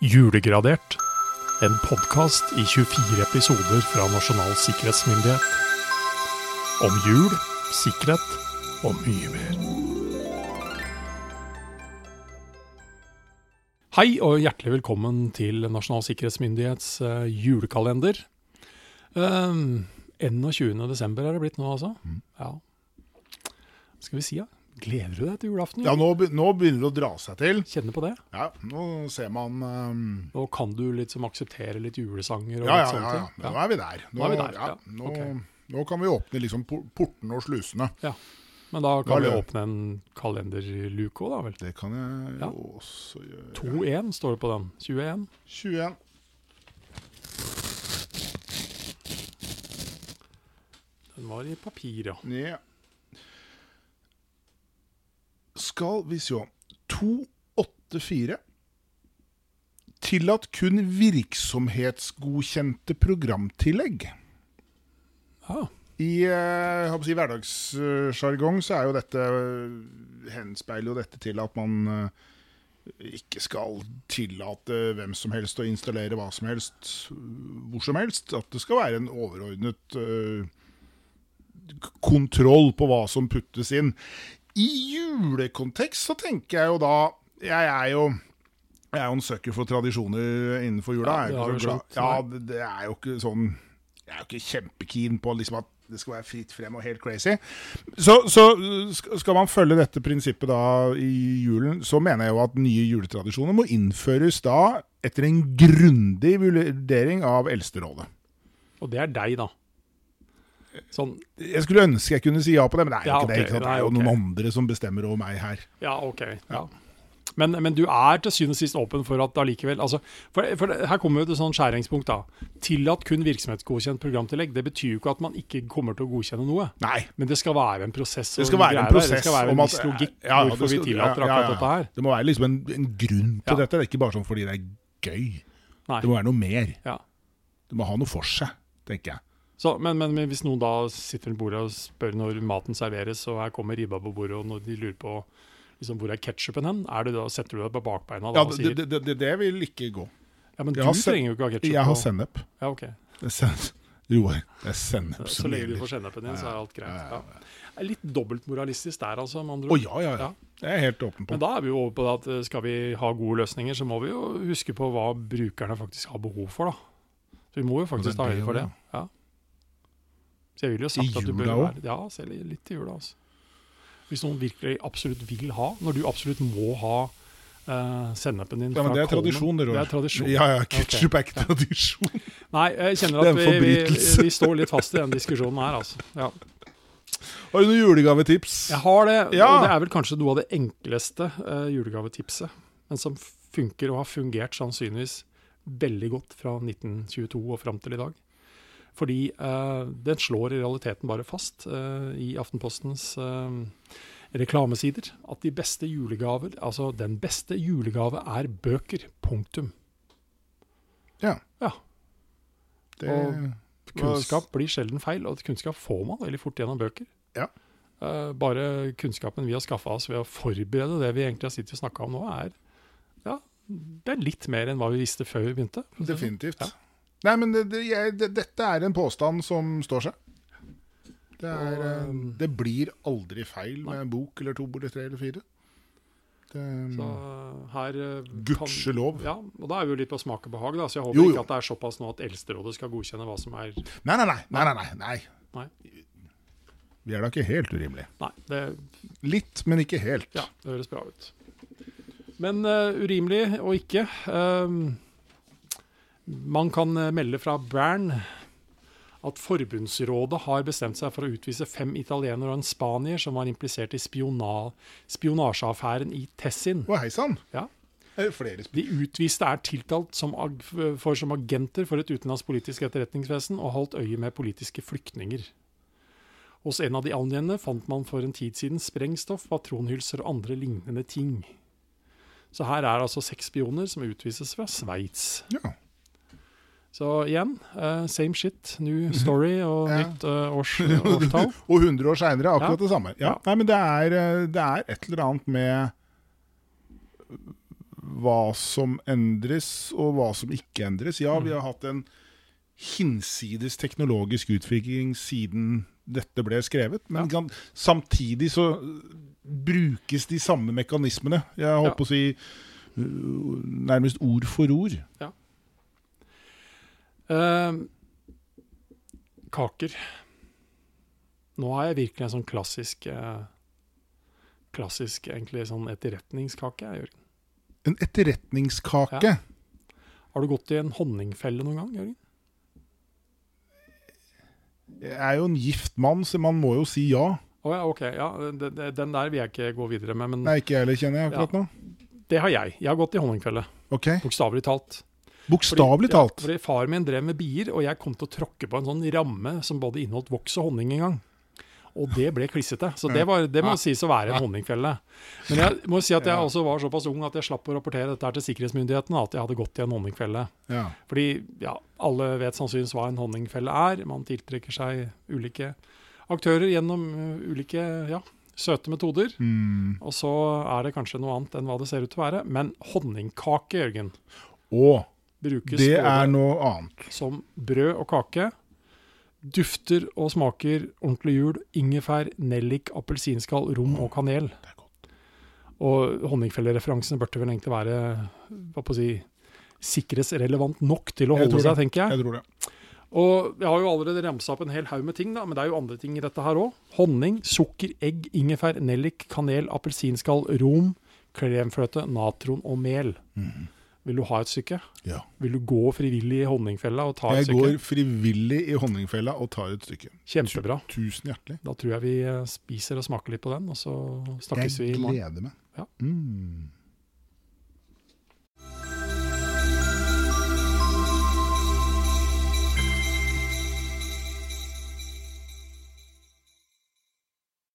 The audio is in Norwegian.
Julegradert. En podkast i 24 episoder fra Nasjonal sikkerhetsmyndighet. Om jul, sikkerhet og mye mer. Hei og hjertelig velkommen til Nasjonal sikkerhetsmyndighets eh, julekalender. Um, 21. desember er det blitt nå, altså. Ja. Hva skal vi si, da? Gleder du deg til julaften? Ja, nå, be- nå begynner det å dra seg til. Kjenner på det? Ja, nå ser man ehm, Nå kan du liksom akseptere litt julesanger og ja, ja, litt ja, sånne ja, ting. Nå er vi der. Nå er vi der, ja. nå, Ok. nå kan vi åpne liksom por- portene og slusene. Men da Da kan vi lø- åpne en kalenderluke òg, da vel. Det kan jeg Ja. jo også gjøre. 2-1 står det på den. 21. 21. Den var i papir, ja. Ja. Skal vi se 284. Tillatt kun virksomhetsgodkjente programtillegg. ja. I eh, jeg håper å si, hverdagssjargong så er jo dette henspeiler jo dette til at man eh, ikke skal tillate hvem som helst å installere hva som helst eh, hvor som helst. At det skal være en overordnet eh, k- kontroll på hva som puttes inn. I julekontekst så tenker jeg jo da Jeg er jo jeg er jo en søker for tradisjoner innenfor jula. Ja, det har du jeg er jo ikke så glad. skjønt. Ja, det, det er jo ikke sånn Jeg er jo ikke kjempekeen på liksom at det skal være fritt frem og helt crazy. Så, så øh, sk- skal man følge dette prinsippet da i julen, så mener jeg jo at nye juletradisjoner må innføres da etter en grundig vurdering av Eldsterådet. Og det er deg, da. Sånn Jeg skulle ønske jeg kunne si ja på det, men det er jo Ja, ikke det. ok, Ikke sant? Det nei, er jo ok. noen andre som bestemmer over meg her. Ja, OK. Ja. Men, men du er til syvende og sist åpen for at allikevel altså, for, for det- Her kommer jo et sånn skjæringspunkt, da. Tillatt kun virksomhetsgodkjent programtillegg. Det betyr jo ikke at man ikke kommer til å godkjenne noe. Nei. Men det skal være en prosess. og Det skal være en greier der. prosess Det skal være en om at- viss logikk Ja, ja, hvorfor det vi skal- tillater ja, ja, akkurat ja. dette her. Det må være liksom en, en grunn til Ja. dette. Det er ikke bare sånn fordi det er gøy. Nei. Det må være noe mer. Ja. Det må ha noe for seg, tenker jeg. Så, men, men men hvis noen da sitter ved bordet og spør når maten serveres, og her kommer ribba på bordet, og når de lurer på liksom, hvor er ketsjupen hen, er det da, setter du deg på bakbeina da, Ja, og det, sier det, det, det, det vil ikke gå. ja, men du jeg har sett- trenger jo ikke ha ketsjup. Jeg har sennep. Ja, ok. Det er sen- Roar, det er sennep Så lenge som du gjelder. får sennepen din, så er alt greit. Ja, ja, Ja. Det er Litt dobbeltmoralistisk der, altså. med andre Å ord. ja, ja, ja. Ja. Det er jeg helt åpen på. Men da er vi jo over på det at eh, skal vi ha gode løsninger, så må vi jo huske på hva brukerne faktisk har behov for, da. Så vi må jo faktisk det er ta det høyde for det. jo, Ja. Så jeg vil jo I sagt at du bør jula være Ja, selv i- litt i jula, altså. Hvis noen virkelig absolutt vil ha, når du absolutt må ha eh, sennepen din Ja, men fra det er Kollen. tradisjon, det, Roar. Det er tradisjon. Ja, ja, ketsjup er ikke tradisjon. Nei, jeg kjenner Det er at vi, en vi, forbrytelse. vi står litt fast i den diskusjonen her, altså. Ja. Har du noen julegavetips? Jeg har det, Ja. og det er vel kanskje noe av det enkleste eh, julegavetipset. Men som funker og har fungert sannsynligvis veldig godt fra 1922 og fram til i dag. Fordi eh, den slår i realiteten bare fast eh, i Aftenpostens eh, reklamesider at de beste julegaver, altså den beste julegave er bøker. Punktum. Ja. Ja. Det, Og- Kunnskap blir sjelden feil, og kunnskap får man veldig fort gjennom bøker. Ja. Eh, bare kunnskapen vi har skaffa oss ved å forberede det vi egentlig har sittet og snakka om nå, er ja, det er litt mer enn hva vi visste før vi begynte. for å si det sånn. definitivt. Ja. Nei, men det, det, jeg, det, dette er en påstand som står seg. Det, er, Og, eh, um, det blir aldri feil nei. med en bok eller to eller tre eller fire. Det, sånn. um, Så her eh, kan- Gudskjelov. Ja, og da er vi jo litt på smak og behag, da, så jeg håper Jo, jo. ikke at det er såpass nå at Eldsterådet skal godkjenne hva som er Nei, nei, nei. nei, nei, nei, Nei. Vi er da ikke helt urimelige. Nei, det, Litt, men ikke helt. ja, det høres bra ut. Men eh, urimelig og ikke. ehm, man kan eh, melde fra Bern at Forbundsrådet har bestemt seg for å utvise fem italienere og en spanier som var implisert i spiona spionasjeaffæren i Tessin. Å, hei sann. Ja. Det er jo flere De utviste er tiltalt som ag for som agenter for et utenlandsk politisk etterretningsvesen og holdt øye med politiske flyktninger. Hos en av de angjeldende fant man for en tid siden sprengstoff, patronhylser og andre lignende ting. Så her er altså seks spioner som utvises fra Sveits. Ja. Så igjen, eh, same shit, new story og Ja. nytt eh, års, årstall. Og 100 år seinere akkurat det samme. Ja. Ja. Nei, men det er, eh, det er et eller annet med hva som endres, og hva som ikke endres. Ja, Mm. vi har hatt en hinsides teknologisk utvikling siden dette ble skrevet, men kan, samtidig så brukes de samme mekanismene. Jeg holdt Ja. på å si øh, nærmest ord for ord. Ehm, kaker. Nå er jeg virkelig en sånn klassisk eh, Klassisk egentlig sånn etterretningskake. jeg, Jørgen. En etterretningskake. Ja. Har du gått i en honningfelle noen gang? Jørgen? Jeg er jo en gift mann, så man må jo si ja. Å ja, ok. Ja, den, den der vil jeg ikke gå videre med, men Nei, ikke jeg heller, kjenner jeg akkurat nå. det har jeg. Jeg har gått i honningfelle, Ok, bokstavelig talt. Fordi- Bokstavelig talt. Ja, fordi far min drev med bier, og jeg kom til å tråkke på en sånn ramme som både inneholdt voks og honning en gang. Og det ble klissete. Så det, var, det må sies å være en honningfelle. Men jeg må si at jeg også var såpass ung at jeg slapp å rapportere dette her til sikkerhetsmyndighetene, at jeg hadde gått i en honningfelle. Ja. Fordi ja, alle vet sannsynligvis hva en honningfelle er. Man tiltrekker seg ulike aktører gjennom ø, ulike ja, søte metoder. Mm. Og så er det kanskje noe annet enn hva det ser ut til å være. Men honningkake, Jørgen, Og brukes det både- er noe annet. som brød og kake. Dufter og smaker ordentlig jul, ingefær, nellik, appelsinskall, rom og kanel. Det er godt. Og honningfellereferansene burde vel egentlig være hva på å si, sikkerhetsrelevant nok til å Jeg holde tror seg, tenker jeg. Jeg tror det. Og jeg har jo allerede ramsa opp en hel haug med ting, da, men det er jo andre ting i dette her òg. Honning, sukker, egg, ingefær, nellik, kanel, appelsinskall, rom, kremfløte, natron og mel. Vil du ha et stykke? Ja. Vil du gå frivillig i honningfella og ta et Jeg stykke? går frivillig i honningfella og tar et stykke. Kjempebra. Tusen hjertelig. Da tror jeg vi eh, spiser og smaker litt på den, og så snakkes Jeg vi i morgen. gleder meg. Ja. Mm.